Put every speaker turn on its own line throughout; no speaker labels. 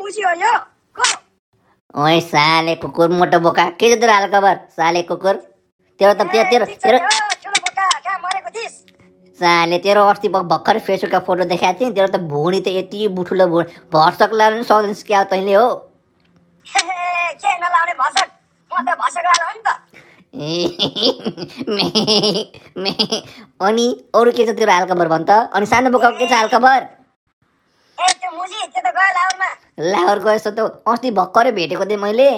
પૂછ્યો યો કો
ઓય સાલે કુકુર મોટો બોકા કીધું તને હાલ ખબર સાલે કુકુર તેરો તમ તેરો તેરો તેરો
ચલો બોકા ક્યાં મારે કો દીસ
સાલે તેરો વર્ષથી બક ભક્કર ફેસો का फोटो દેખાય છે તેરો તો ભૂણી તો એટલી બુઠુલો ભૂણ ભરસક લાલ સો દિવસ કે આવતો લે હો
કે ન લાવને ભાષણ હું તો ભાષણ વાળો હું તો
अनि अरू के छ तेरो हाल खबर भन त अनि सानो बोका के छ हाल खबर
એ તે મુજી તે તો ગયો લાવમાં
लाहोर गयो यस्तो त अस्ति भर्खरै भेटेको थिएँ मैले
ए,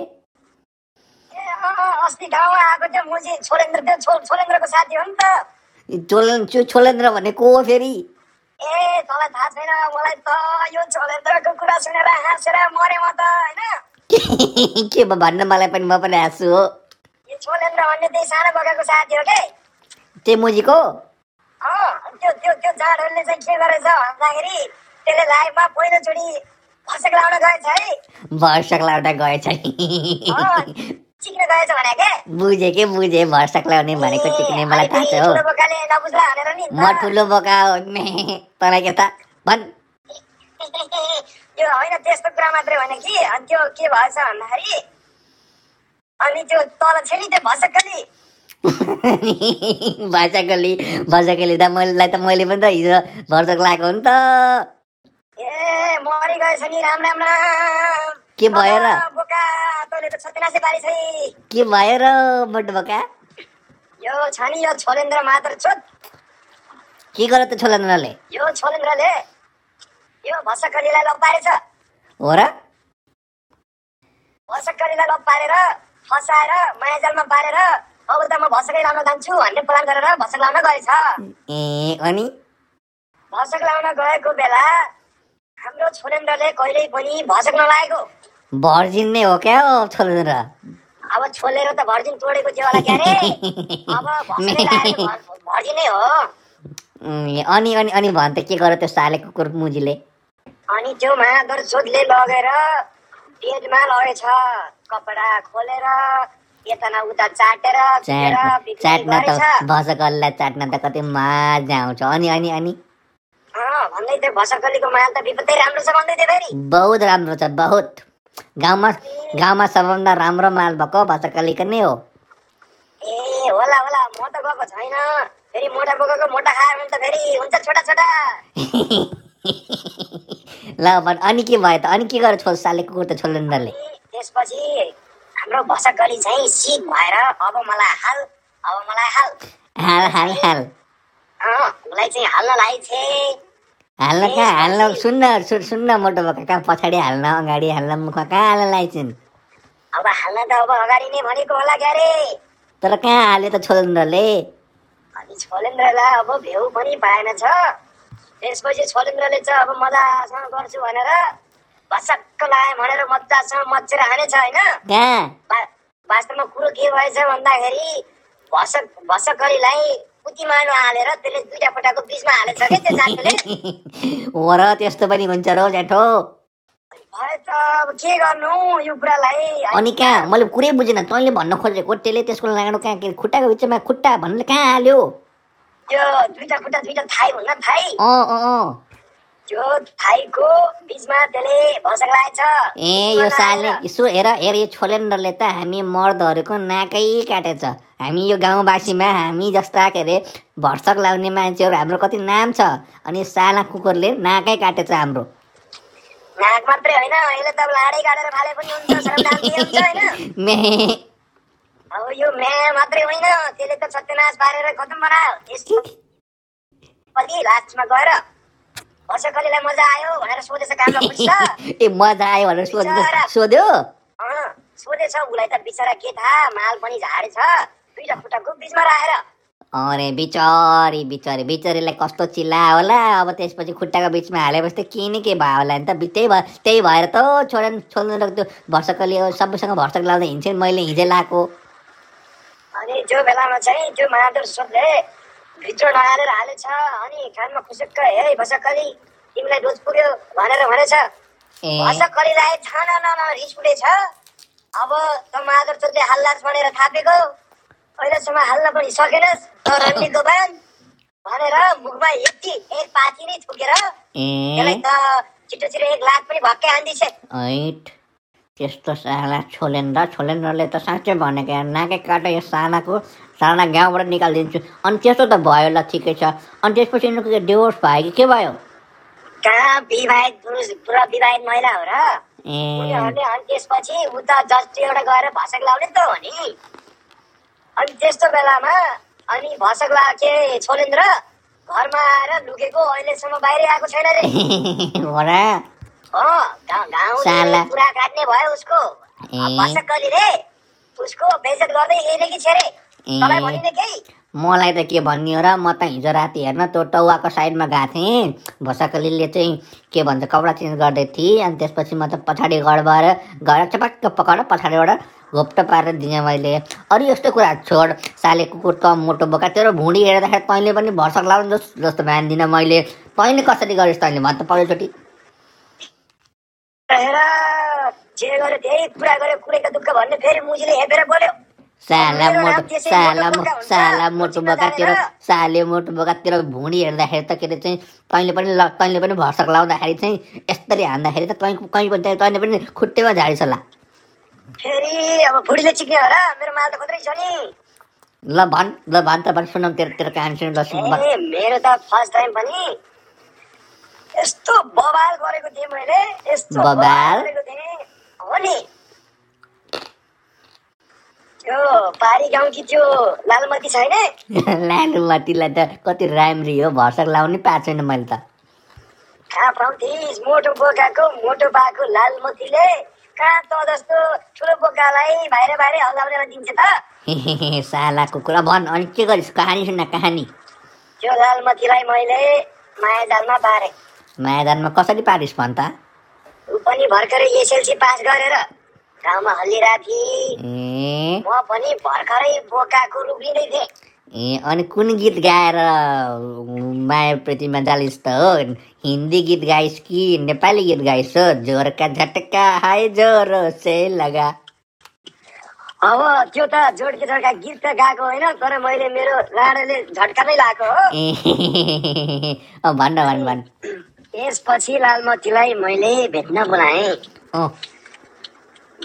अँ, अँ, अस्ति गाउँमा आएको त्यो मुजी छोरेन्द्र त्यो छो- छोरेन्द्रको साथी हो नि त
छोल छो- छोलेन्द्र भनेको हो फेरि
ए तँलाई थाहा छैन मलाई त यो छोरेन्द्रको कुरा सुनेर हाँसेर मरे म त होइन
के भयो भन्न मलाई पनि म पनि हाँसु हो
यो छोरेन्द्र भन्ने त्यही सानो बगाको साथी हो के
त्यो मुजीको
अँ, त्यो त्यो त्यो जाडहरूले चाहिँ के गरेछ भन्दाखेरि त्यसले लाइफमा पहिलोचोटि फसेक लाउन गएछ है
भरसक लाउँदा गएछ
अँ, चिक्न गएछ भने के
बुझे के बुझे भरसक लाउने भनेको चिक्ने मलाई थाहा छ हो
बोकाले नबुझ्ला भनेर नि
म ठुलो बोका हो मे तँलाई के थाहा भन्
यो होइन त्यस्तो कुरा मात्रै होइन कि अनि त्यो के भएछ भन्दाखेरि अनि त्यो तल थियो नि त्यो भसकली
भाषाकोली भाषाकोली त मैलेलाई त मैले पनि त हिजो भरसक लगाएको हो नि त
ए मरि गएछ नि राम राम राम
के भयो र?
आमा, बोका तैँले त सत्यनाशे पारिस है
के भयो र बड्डो बोका
यो छ नि यो छोरेन्द्र मात्र चोत
के गर्यो त छोलेन्द्रले
यो छोरेन्द्रले यो भसकलीलाई लप पारेछ
हो र
भसकलीलाई लप पारेर फसाएर मायाजालमा पारेर अब त म भसकै लाउन जान्छु भन्ने प्लान गरेर भसक लाउन गएछ
ए अनि
भसक लाउन गएको बेला हाम्रो छोरेन्द्रले कहिल्यै पनि भसक नलागेको
भर्जिन नै हो क्या हो छोलेन्द्र
अब छोलेर त भर्जिन तोडेको थियो होला क्यारे अब भसकै लाएर भर- भर्जिनै हो
ए, अनि अनि अनि भन त के गर्यो त्यो साले कुकुर मुजीले
अनि त्यो महादर चोतले लगेर पेटमा लगेछ कपडा खोलेर यता न उता चाटेर
चाट
पिटेर बिक्री
चाट्न त
गरेछ
भसकल्ला चाट्न त कति माझ आउँछ अनि अनि अनि
अँ, भन्दै थियो भसकलीको माल त विपत्ति राम्रो छ भन्दै थियो फेरि
बहुत राम्रो छ बहुत गाउँमा गाउँमा सबभन्दा राम्रो माल भएको भसकल्लीको नै हो
ए होला होला म त गएको छैन फेरि मोटा बोकेको मोटा खायो भने त फेरि हुन्छ छोटा छोटा
ल भन् अनि के भयो त अनि के गर्यो छोल साले कुकुर त छोलेन्द्रले
त्यसपछि हाम्रो भसकली चाहिँ सिक भएर अब मलाई हाल अब मलाई हाल
हाल हाल हाल
अँ, उसलाई चाहिँ हाल्न लागि थिएँ
हाल्न कहाँ हाल्न सुन्न सु- सुन्न मोटो भएको कहाँ पछाडि हाल्न अगाडि हाल्न मुखमा कहाँ हाल्न लाइछन्
अब हाल्न त अब अगाडि नै भनेको होला क्यारे
तर कहाँ हाल्यो त छोलेन्द्रले
अनि छोलेन्द्रलाई अब भेउ पनि पाएन छ त्यसपछि छोलेन्द्रले चाहिँ अब मजासँग गर्छु भनेर भसक्क लायो भनेर मजासँग मचेर हानेछ होइन
कहाँ
वा- वास्तवमा कुरो के भएछ भन्दाखेरि भसक भसकरीलाई उतिमानो हालेर त्यसले दुईटा पटाको बिचमा हालेछ के त्यो जातले
हो र त्यस्तो पनि हुन्छ र हौ जेठो
भयो त अब के गर्नु यो कुरालाई
अनि कहाँ मैले कुरै बुझिनँ तैँले भन्न खोजेको त्यसले त्यसको लाँडो कहाँ के खुट्टाको बिचमा खुट्टा भन्नु कहाँ हाल्यो
त्यो दुईटा खुट्टा दुईटा थाई हुन्न थाई
अँ अँ अँ
त्यो थाईको बिचमा त्यसले भसक लाएछ
ए यो सालले यसो हेर हेर यो छोलेन्द्रले त हामी मर्दहरूको नाकै काटेछ हामी यो गाउँवासीमा हामी जस्ता के अरे भर्सक लाउने मान्छेहरू हाम्रो कति नाम छ अनि साला कुकुरले नाकै काटेछ हाम्रो
नाक मात्रै होइन यसले त अब लाडै काटेर फाले पनि हुन्छ सरमदान दिए हुन्छ होइन
मे
अब यो म्या मात्रै होइन त्यसले त सत्यनाश पारेर खतम बनायो यस्तो पछि लास्टमा गएर भसकलीलाई मजा आयो भनेर सोधेछ काममा पुग्छ
ए मजा आयो भनेर सोध्यो सोध्यो
अँ, सोधेछ उसलाई त बिचरा के थाहा माल पनि झाडेछ दुईटा खुट्टाको बिचमा राखेर
अरे बिचरी बिचरी बिचरीलाई कस्तो चिल्ला होला अब त्यसपछि खुट्टाको बिचमा हालेपछि त के नि के भयो होला नि त बि- त्यही भएर त्यही भएर त हौ छोडेन छोड्नु त्यो भर्सकले सबैसँग भर्सक लाउँदा हिँड्छन् मैले हिजै लाएको
अनि त्यो बेलामा चाहिँ त्यो महादुर सोधले भित्र नहालेर हालेछ अनि कानमा खुसुक्क हे भसकली तिमीलाई दोष पुग्यो भनेर भनेछ
ए
भसकलीलाई छाना न न रिस उठेछ अब त महादुर चोटले हाल्लास् भनेर थापेको अहिलेसम्म हाल्न पनि सकेनस् त रन्डीको बयान भनेर मुखमा यति एक पाथी नै थुकेर
ए
त्यसलाई त छिटो छिटो एक लाख पनि भक्कै हानिदिन्छ
ऐट त्यस्तो साला छोलेन्द्र छोलेन्द्रले त साँच्चै भनेको यार नाकै काटो यो सानाको साना गाउँबाट निकालिदिन्छु अनि त्यस्तो त भयो ल ठिकै छ अनि त्यसपछि यिनीहरूको डिभोर्स भयो कि के भयो
कहाँ विवाहित पुरुष पुरा विवाहित महिला हो र
ए
उनीहरूले अनि त्यसपछि उता जस्ट एउटा गएर भसक लाउने त हो नि अनि त्यस्तो बेलामा अनि भसक ला के छोलेन्द्र घरमा आएर लुकेको अहिलेसम्म बाहिरै आएको छैन रे
भरा
हो गाउँ
साला।
गाउँ पुरा काट्ने भयो उसको
ए।
भसक गली रे उसको बेजत गर्दै यहीँ कि छेरे
ए।
तपाईँ भनिदिने केही
मलाई त के भन्ने हो र म त हिजो राति हेर्न त्यो टौवाको साइडमा गएको थिएँ भोसाकलीले चाहिँ के भन्छ कपडा चेन्ज गर्दै थिएँ अनि त्यसपछि म त पछाडि गडबड गएर चपक्क पकाएर पछाडिबाट घोप्टो पारेर दिएँ मैले अरू यस्तो कुरा छोड साले कुकुर त मोटो बोका तेरो भुँडी हेर्दाखेरि तैँले पनि भर्सक लाउनु जस जस्तो मान्दिनँ मैले तैँले कसरी गरिस् तैँले भन् त पहिलोचोटि
रहेर जे गर्यो त्यही पुरा गर्यो कुरेको दुःख भन्ने फेरि मुजीले हेपेर बोल्यो
साला
मेरो नाम
मोटो
त्यसै
साला
मोटो
मो
बोका हुन्छ।
साला मोटो
चिन्न
बोका तेरो साले मोटो बोका तेरो
जानेर।
भुँडी हेर्दाखेरि त के अरे चाहिँ तैँले पनि ल तैँले पनि भर्सक लाउँदाखेरि चाहिँ यसरी हान्दाखेरि त तैँ कहीँ पनि तैँ- तैँले पनि खुट्टेमा झारिस होला
फेरि अब भुडीले चिक्ने हो र मेरो माल त खत्रै छ नि
ल भन् ल भन् त भन् सुनौँ तेरो तेरो काम सुनौँ ल सुन भन्।
ए मेरो त फर्स्ट टाइम पनि यस्तो बबाल गरेको थिएँ मैले यस्तो
बबाल?
गरेको थिएँ हो नि त्यो पारी गाउँकी त्यो लालमती छैन
लालुमतीलाई त कति राम्री हो भर्सक लाउनै पाएको छैन मैले त
कहाँ पाउँथिस् मोटो बोकाको मोटो बाको लालमतीले कहाँ त जस्तो ठुलो बोकालाई बाहिर बाहिर हल्लाउनेलाई दिन्छ त
साला कुकुर भन् अनि के गरिस् कहानी सुन्न कहानी
त्यो लालमतीलाई मैले माया जालमा पारेँ
मायादानमा कसरी पारिस् भन् त
ऊ पनि भर्खरै एसएलसी पास गरेर गाउँमा हल्लिरहेको थिए
ए
म पनि भर्खरै बोकाको रूप लिँदै थिएँ
ए अनि कुन गीत गाएर माया प्रीतिमा जालिस् त हो हिन्दी गीत गाइस् कि नेपाली गीत गाइस् हो जोरका झटका हाय जोरो से लगा
अब त्यो त जोडके जोडका गीत त गाएको होइन तर मैले मेरो लाडाले झट्का नै लाएको हो
ए अँ, भन् न, भन् भन्
त्यसपछि लालमतीलाई मैले भेट्न बोलाएँ
अँ,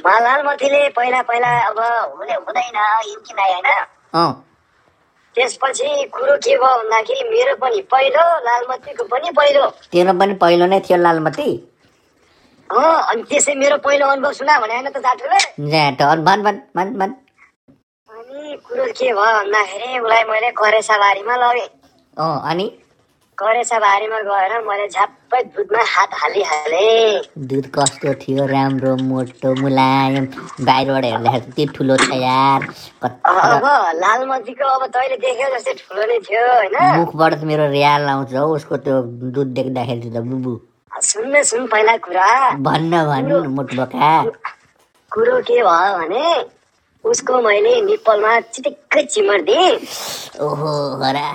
म लालमतीले पहिला पहिला अब हुने हुँदैन इन्किँदै होइन
अँ,
त्यसपछि कुरो के भयो भन्दाखेरि मेरो पनि पहिलो लालमतीको पनि पहिलो
तेरो पनि पहिलो नै थियो लालमती
हो अनि त्यसै मेरो पहिलो अनुभव सुना भने होइन त जाठुले
जाँट अनि भन् भन् भन् भन्
अनि कुरो के भयो भन्दाखेरि उसलाई मैले करेसाबारीमा लगेँ
अँ अनि
करेसाबारीमा गएर मैले झ्याप्पै दुधमा हात हालिहालेँ
दुध कस्तो थियो राम्रो मोटो मुलायम बाहिरबाट हेर्दाखेरि त्यति ठुलो छ यार कत्रो
अब लालमतीको अब तैँले देख्यौ जस्तै ठुलो नै थियो होइन
मुखबाट त मेरो रियाल आउँछ हौ उसको त्यो दुध देख्दाखेरि त बुबु
सुन न सुन पहिला कुरा
भन्न भन् मुटबका
कुरो के भयो भने उसको मैले निप्पलमा चिटिक्कै चिमर दिएँ
ओहो हरा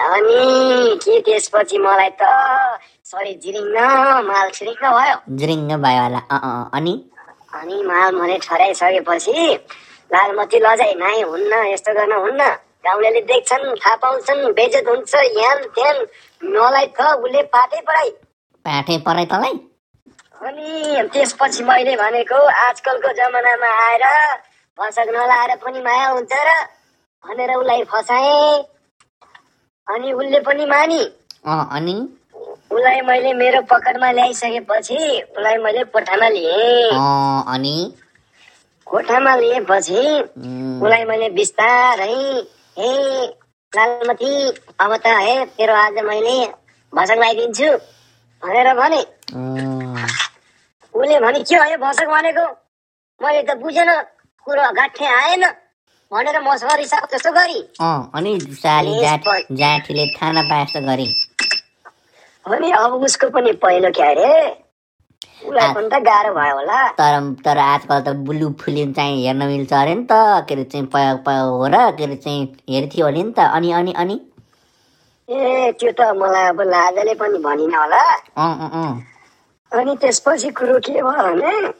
अनि के त्यसपछि मलाई त सरी जिरिङ्ग माल छिरिङ्ग भयो
ज्रिङ्ग भयो होला अँ अँ अनि
अनि माल मैले ठराइसकेपछि लालमती लजाइ नाइ हुन्न यस्तो गर्न हुन्न गाउँले देख्छन् थाहा पाउँछन् बेजत हुन्छ यहाँ त्यहाँ मलाई त उसले पातै पढाइ
पाठै परे तँलाई
अनि त्यसपछि मैले भनेको आजकलको जमानामा आएर फसक नलाएर पनि माया हुन्छ र भनेर उसलाई फसाएँ अनि उसले पनि मानि
अँ अनि
उसलाई मैले मेरो पकडमा ल्याइसकेपछि उसलाई मैले कोठामा लिएँ
अँ अनि
कोठामा लिएपछि
उम्,
उसलाई मैले बिस्तारै हे लालमती अब त हे तेरो आज मैले भसक लगाइदिन्छु भनेर भने
उम्,
उसले भने के भयो भसक भनेको मैले त बुझेन कुरो गाँठे आएन भनेर मसँग रिसाब जस्तो गरी
अँ अनि साली जाठ जाठीले खाना पाए जस्तो गरी
हो नि अब उसको पनि पहिलो क्या अरे उसलाई पनि त गाह्रो भयो होला
तर तर आजकल त ब्लु फिल्म चाहिँ हेर्न मिल्छ अरे नि त के अरे चाहिँ पय पय हो र के अरे चाहिँ हेर्थ्यो अरे नि त अनि अनि अनि
ए त्यो त मलाई अब लाजाले पनि भनिन होला
अँ अँ अँ
अनि त्यसपछि कुरो के भयो भने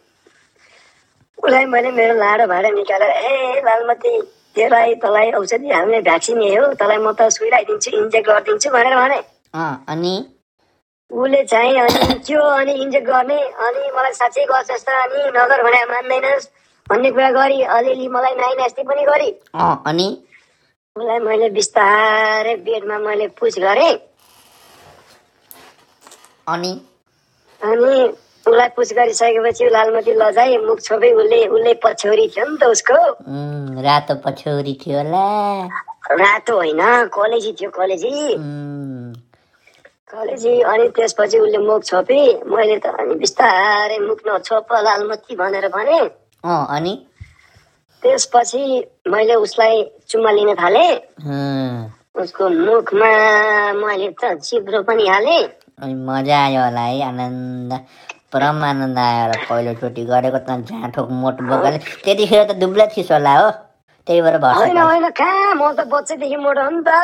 उसलाई मैले मेरो लाडो भएर निकालेर ए लालमती त्यसलाई तँलाई औषधि हाल्ने भ्याक्सिन यही हो तँलाई म त सुइराइदिन्छु इन्जेक्ट गरिदिन्छु भनेर भने
अँ अनि
उसले चाहिँ अनि के हो अनि इन्जेक्ट गर्ने अनि मलाई साँच्चै गर्छ जस्तो अनि नगर भनेर मान्दैनस् भन्ने कुरा गरी अलिअलि मलाई नाइ नास्ति पनि गरी
अँ अनि
उसलाई मैले बिस्तारै बेडमा मैले पुछ गरेँ
अनि
अनि उसलाई पुछ गरिसकेपछि ऊ लालमती लजाए मुख छोपे उसले उसले पछ्यौरी थियो नि त उसको
उम्, रातो पछ्यौरी थियो होला
रातो होइन कलेजी थियो कलेजी
उम्,
कलेजी अनि त्यसपछि उसले मुख छोपी मैले त अनि बिस्तारै मुख नछोप लालमती भनेर भने
अँ अनि
त्यसपछि मैले उसलाई चुम्मा लिन थालेँ
हुँ,
उसको मुखमा मैले त चिब्रो पनि हालेँ
अनि मजा आयो होला है आनन्द परम आनन्द आयो होला पहिलोचोटि गरेको त झाँठोक मोट बोकेर त्यतिखेर त दुब्लै थिस होला हो त्यही भएर
होइन
भर्छ
होइन कहाँ म त बच्चैदेखि मोटो हो नि त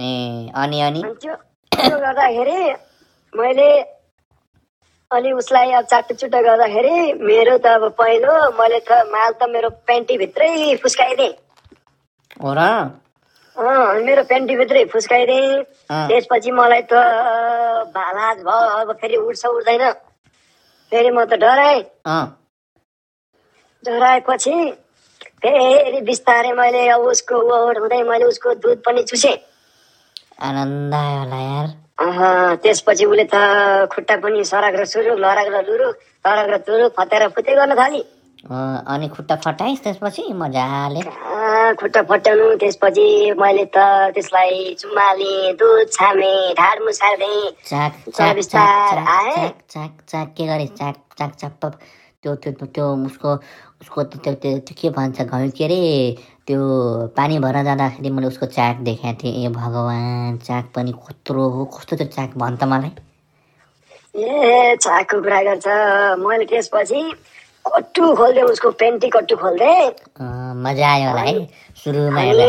ए अनि अनि
अनि त्यो त्यो गर्दाखेरि मैले अनि उसलाई अब चाटुचुटो गर्दाखेरि मेरो त अब पहिलो मैले त माल त मेरो प्यान्टीभित्रै फुस्काइदिएँ
हो र
अँ, मेरो प्यान्टीभित्रै फुस्काइदिएँ
अँ,
त्यसपछि मलाई त भालाज भयो अब फेरि उठ्छ उठ्दैन फेरि म त डराएँ
अँ,
डराएपछि फेरि बिस्तारै मैले अब उसको ओहोर हुँदै मैले उसको दुध पनि चुसेँ
आनन्द आयो होला यार
अह, त्यसपछि उसले त खुट्टा पनि सराग र सुरु लराग र लुरु लराग र तुरु फतेर फुते गर्न थाली
अँ, अनि खुट्टा फटाइस् त्यसपछि मजाले
आ, खुट्टा फट्याउनु त्यसपछि मैले त त्यसलाई चुम्माले दुध छामे ढाड मुसार्दै
चाक
चाक,
चाक
चाक,
चाक
आए।
चाक चाक चाक के गरेँ चाक चाक चाक पप त्यो त्यो त्यो- त्यो उसको उसको त्यो त्यो- त्यो त्यो के भन्छ घैँ के अरे त्यो पानी भएर जाँदाखेरि मैले उसको चाक देखाएको थिएँ ए भगवान् चाक पनि कत्रो हो कस्तो त्यो चाक भन् त मलाई
ए छाकको कुरा गर्छ मैले त्यसपछि कट्टु खोल्दिएँ उसको पेन्टी कट्टु खोल्दिएँ
अँ, मजा आयो होला है सुरुमा
अनि
होला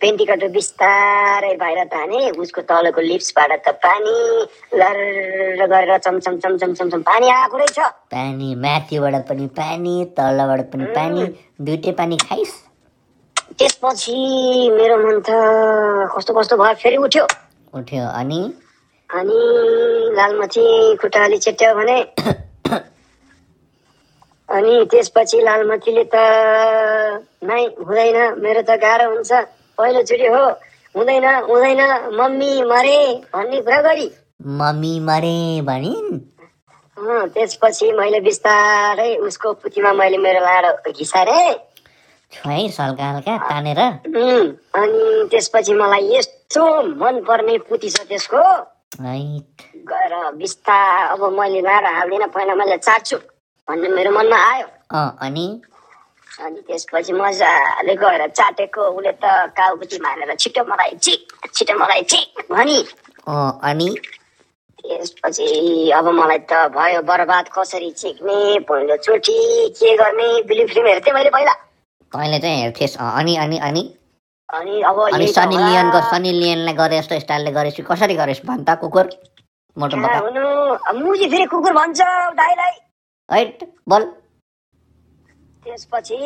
पेन्टी कट्टु बिस्तारै बाहिर ताने उसको तलको लिप्सबाट त पानी लर गरेर चमचम चमचम चमचम पानी आएको रहेछ
पानी माथिबाट पनि पानी तलबाट पनि पानी दुइटै पानी खाइस्
त्यसपछि मेरो मन त कस्तो कस्तो भयो फेरि उठ्यो
उठ्यो अनि
अनि लालमती खुट्टा अलि चेट्यायो भने अनि त्यसपछि लालमतीले त नै हुँदैन मेरो त गाह्रो हुन्छ पहिलोचोटि हो हुँदैन हुँदैन मम्मी मरे भन्ने कुरा गरी
मम्मी मरे भनिन्
अँ, त्यसपछि मैले बिस्तारै उसको पुथीमा मैले मेरो लाडो घिसारेँ
छोए हल्का हल्का तानेर
उम्, अनि त्यसपछि मलाई यस्तो मनपर्ने पुती छ त्यसको
है
गएर बिस्तार अब मैले लाडो हाल्दिनँ पहिला मैले चाट्छु भन्ने मेरो मनमा आयो
अँ अनि
अनि त्यसपछि मजाले गएर चाटेको उसले त काउकुटी मारेर छिटो मलाई चिक छिटो मलाई चिक भनी
अँ अनि
त्यसपछि अब मलाई त भयो बर्बाद कसरी चिक्ने पहिलोचोटि के गर्ने बिलु फिल्म हेर्थेँ मैले पहिला
तैँले चाहिँ हेर्थेस् अँ, अनि अनि अनि
अनि अब
अनि
यही त
सनी
होला।
लियनको सनी लियनलाई गरे यस्तो स्टाइलले गरेपछि कसरी गरेस् भन् त कुकुर मोटो
कहाँ
बका
हुनु अब मुजी फेरि कुकुर भन्छ दाईलाई
हैट बोल
त्यसपछि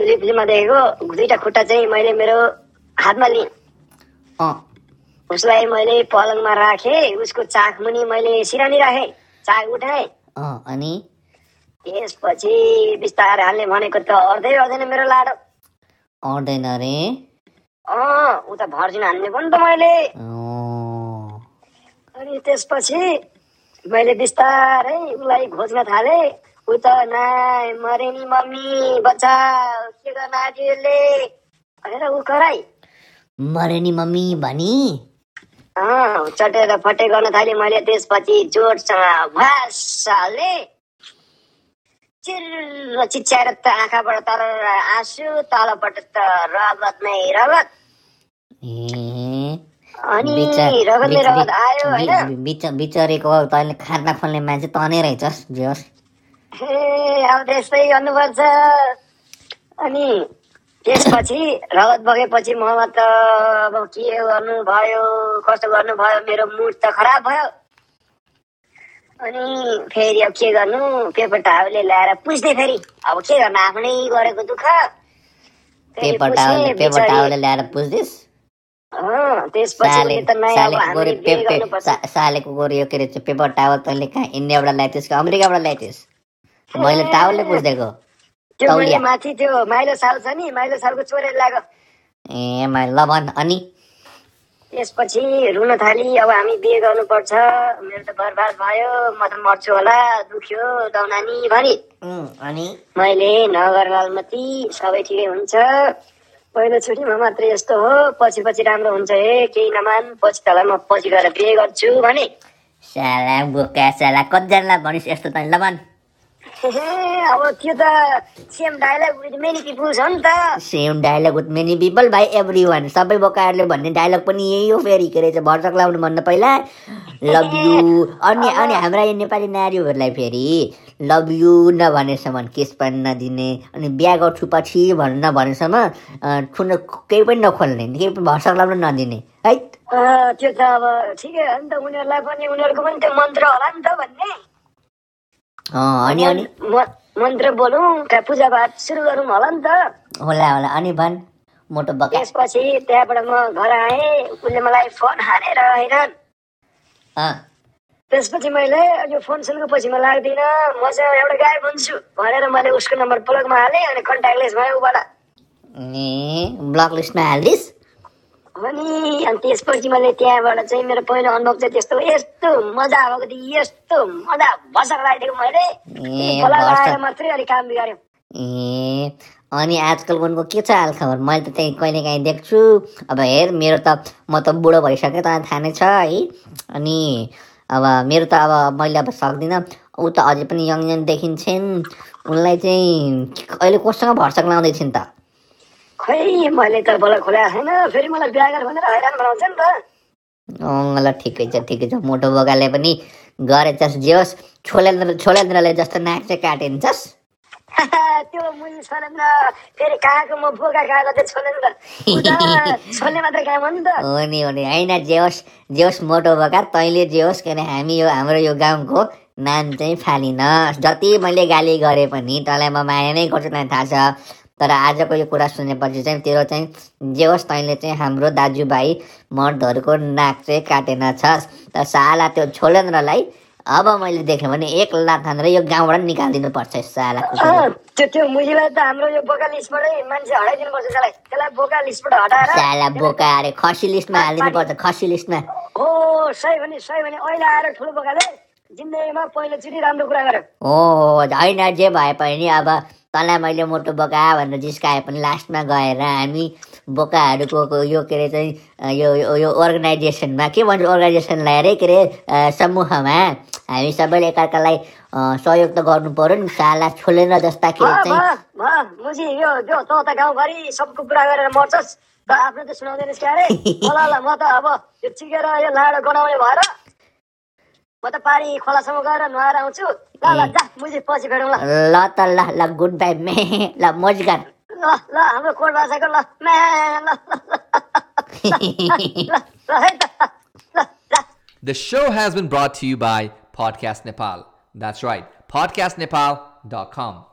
बिलु फिल्ममा देखेको दुईटा खुट्टा चाहिँ मैले मेरो हातमा लिएँ
अँ
उसलाई मैले पलङमा राखेँ उसको चाख मुनि मैले सिरानी राखेँ चाक उठाएँ
अँ अनि
त्यसपछि बिस्तारै हाल्ने भनेको त अर्धै अर्दैन मेरो लाडो
आउँदैन रे
अँ ऊ त भर्जिन हान्ने पनि त मैले
अँ,
अनि त्यसपछि मैले बिस्तारै उसलाई खोज्न थालेँ ऊ त नाइ मरे नि मम्मी बच्चा के गर्न आँट्यो यसले भनेर ऊ कराई
मरे नि मम्मी भनी
अँ चटेर फटे गर्न थालेँ मैले त्यसपछि जोडसँग भाषाले चिल्लो चिच्याएर त आँखाबाट तर आँसु तलबाट त रगत नै रगत
ए
अनि
बिचा-
रगतले
बिच-
रगत
बिच-
आयो
बि-
होइन
बि- बिच- बिचरेको तैँले खाना खोल्ने मान्छे तनै रहेछस् जे होस्
ए, अब त्यस्तै गर्नुपर्छ अनि त्यसपछि रगत बगेपछि ममा त अब के गर्नु भयो कस्तो गर्नु भयो मेरो मुड त खराब भयो अनि फेरि अब के गर्नु पेपर टाउले ल्याएर पुस्दै फेरि अब के गर्नु आफ्नै गरेको दुःख फेरि
पेपर
पुछेँ
टावल पेपर
बिचारी।
टावल ल्याएर पुज्दिस्
अँ, त्यसपछि
साले
उसले त नयाँ अब
सालेको
हामीले
गोरी
बिहे
पेपे
गर्नुपर्छ।
सा- सालेको गोरी यो के अरे चाहिँ पेपर टावल तैँले कहाँ इन्डियाबाट ल्याइथिस् कि अमेरिकाबाट ल्याइथिस् मैले टावलले पुस्देको
त्यो मैले
तौलिया।
माथि त्यो माइलो साल छ नि माइलो सालको चोरेर लाग्यो
ए मा ल भन् अनि
त्यसपछि रुन थाली अब हामी बिहे गर्नुपर्छ मेरो त बर्बाद भयो म त मर्छु होला दुख्यो दौनानी भनी
उम्, अनि
मैले नगर लालमती सबै ठिकै हुन्छ पहिलोचोटिमा मात्र यस्तो हो पछि पछि राम्रो हुन्छ हे केही नमान पछि तँलाई म पछि गएर बिहे गर्छु भने
साला बोका साला कतिजनालाई भनिस् यस्तो त ल भन्
अब त्यो त same dialogue with many peoples हो नि त
same dialogue with many people भाइ एभ्री वान सबै बोकाहरूले भन्ने डायलग पनि यही हो फेरि के रहेछ भर्सक लाउनुभन्दा पहिला लभ यु अनि अनि हाम्रा यो नेपाली नारीहरूलाई फेरि लभ यु नभनेसम्म केस पनि नदिने अनि बिहा गर्छु पछि भन्न नभनेसम्म अँ, ठुलो केही पनि नखोल्ने केही पनि भर्सक लाउन नदिने है
अँ, त्यो त अब ठिकै हो नि त उनीहरूलाई पनि उनीहरूको पनि त्यो मन्त्र होला नि त भन्ने
अँ, अनि अनि
म- मन्त्र बोलौँ का पूजापाठ सुरु गरौँ होला नि त
होला होला अनि भन् मोटो बका
त्यसपछि त्यहाँबाट म घर आएँ उसले मलाई फोन हानेर हैरान
अँ,
त्यसपछि मैले यो फोन सुन्नुपछि म लाग्दिनँ म चाहिँ एउटा गायब हुन्छु भनेर मैले उसको नम्बर ब्लकमा हालेँ अनि कन्ट्याक्टलेस भयो उबाट
ए ब्लक लिस्टमा हालिदिस्
अनि अनि त्यसपछि मैले त्यहाँबाट चाहिँ मेरो पहिलो अनुभव चाहिँ त्यस्तो यस्तो मजा आएको थियो यस्तो मजा भसक लगाइदिएको मैले
ए
खोला लगाएर
भर्सक
मात्रै अलिक काम बिगाऱ्यो
ए अनि आजकल उनको के छ हालखबर मैले त त्यही कहिले काहीँ देख्छु अब हेर मेरो त म त बुढो भइसकेँ तँलाई थाहा नै छ है अनि अब मेरो त अब मैले अब सक्दिनँ ऊ त अझै पनि यङ यङ देखिन्छन् उनलाई चाहिँ अहिले कोसँग भर्सक लाउँदैछन् त
खै मैले त बोला खोला छैन फेरि मलाई बिहा गर भनेर हैरान बनाउँछ नि त
अँ, ल ठिकै छ ठिकै छ मोटो बगाले पनि गरेछ जे होस् छोलेन्द्र छोलेन्द्रले जस्तो नाक चाहिँ काटिन्छस्
त्यो मुनि छोडेन त फेरि कहाँको म बोका गएको त्यो छोडेन त उ त छोड्ने मात्र काम हो नि त
हो नि हो नि होइन जे होस् जे होस् मोटो बका तैँले जे होस् किन हामी यो हाम्रो यो गाउँको नाम चाहिँ फालिन जति मैले गाली गरे पनि तँलाई म माया नै गर्छु तँलाई थाहा छ तर आजको यो कुरा सुनेपछि चाहिँ तेरो चाहिँ जे होस् तैँले चाहिँ हाम्रो दाजुभाइ मर्दहरूको नाक चाहिँ काटेन छस् तर साला त्यो छोलेन्द्रलाई अब मैले देखेँ भने एक लाख हानेर यो गाउँबाट निकालिदिनु पर्छ साला कुकुर।
अँ, त्यो त्यो मुजीलाई त हाम्रो यो बोका लिस्टबाटै मान्छे हटाइदिनु पर्छ त्यसलाई त्यसलाई बोका लिस्टबाट हटाएर
साला बोका अरे खसी लिस्टमा हालिदिनु पर्छ खसी लिस्टमा
हो सही भने सही भने अहिले आएर ठुलो बोकाले जिन्दगीमा पहिलोचोटि राम्रो कुरा गर्यो
हो होइन जे भए पनि अब तँलाई मैले मोटो बोका भनेर जिस्काए पनि लास्टमा गएर हामी बोकाहरूको को- यो के अरे चाहिँ अ, यो यो- यो अर्गनाइजेसनमा के भन्छ अर्गनाइजेसनलाई अरे के अरे अ, समूहमा हामी सबैले एकअर्कालाई अ, सहयोग त गर्नु पऱ्यो नि साला छोलेर जस्ता के
भा,
अरे
भा,
चाहिँ
भा, मुजी यो त्यो तँ त गाउँभरि सबको कुरा गरेर मर्छस् त आफ्नो त सुनाउँदैनस् क्या अरे ल ल, ल, म त अब यो चिकेर यो लाडो गनाउने भएर म त पारी खोलासम्म गएर नुहाएर आउँछु ल ल जा मुजी पछि भेटौँ ल
ल त ल ल गुड बाई मे ल मोजगार
ल ल हाम्रो कोट भाषाको ल म्या, ल ल ल ल है त ल जा
The show has been brought to you by Podcast Nepal. That's right, podcastnepal.com.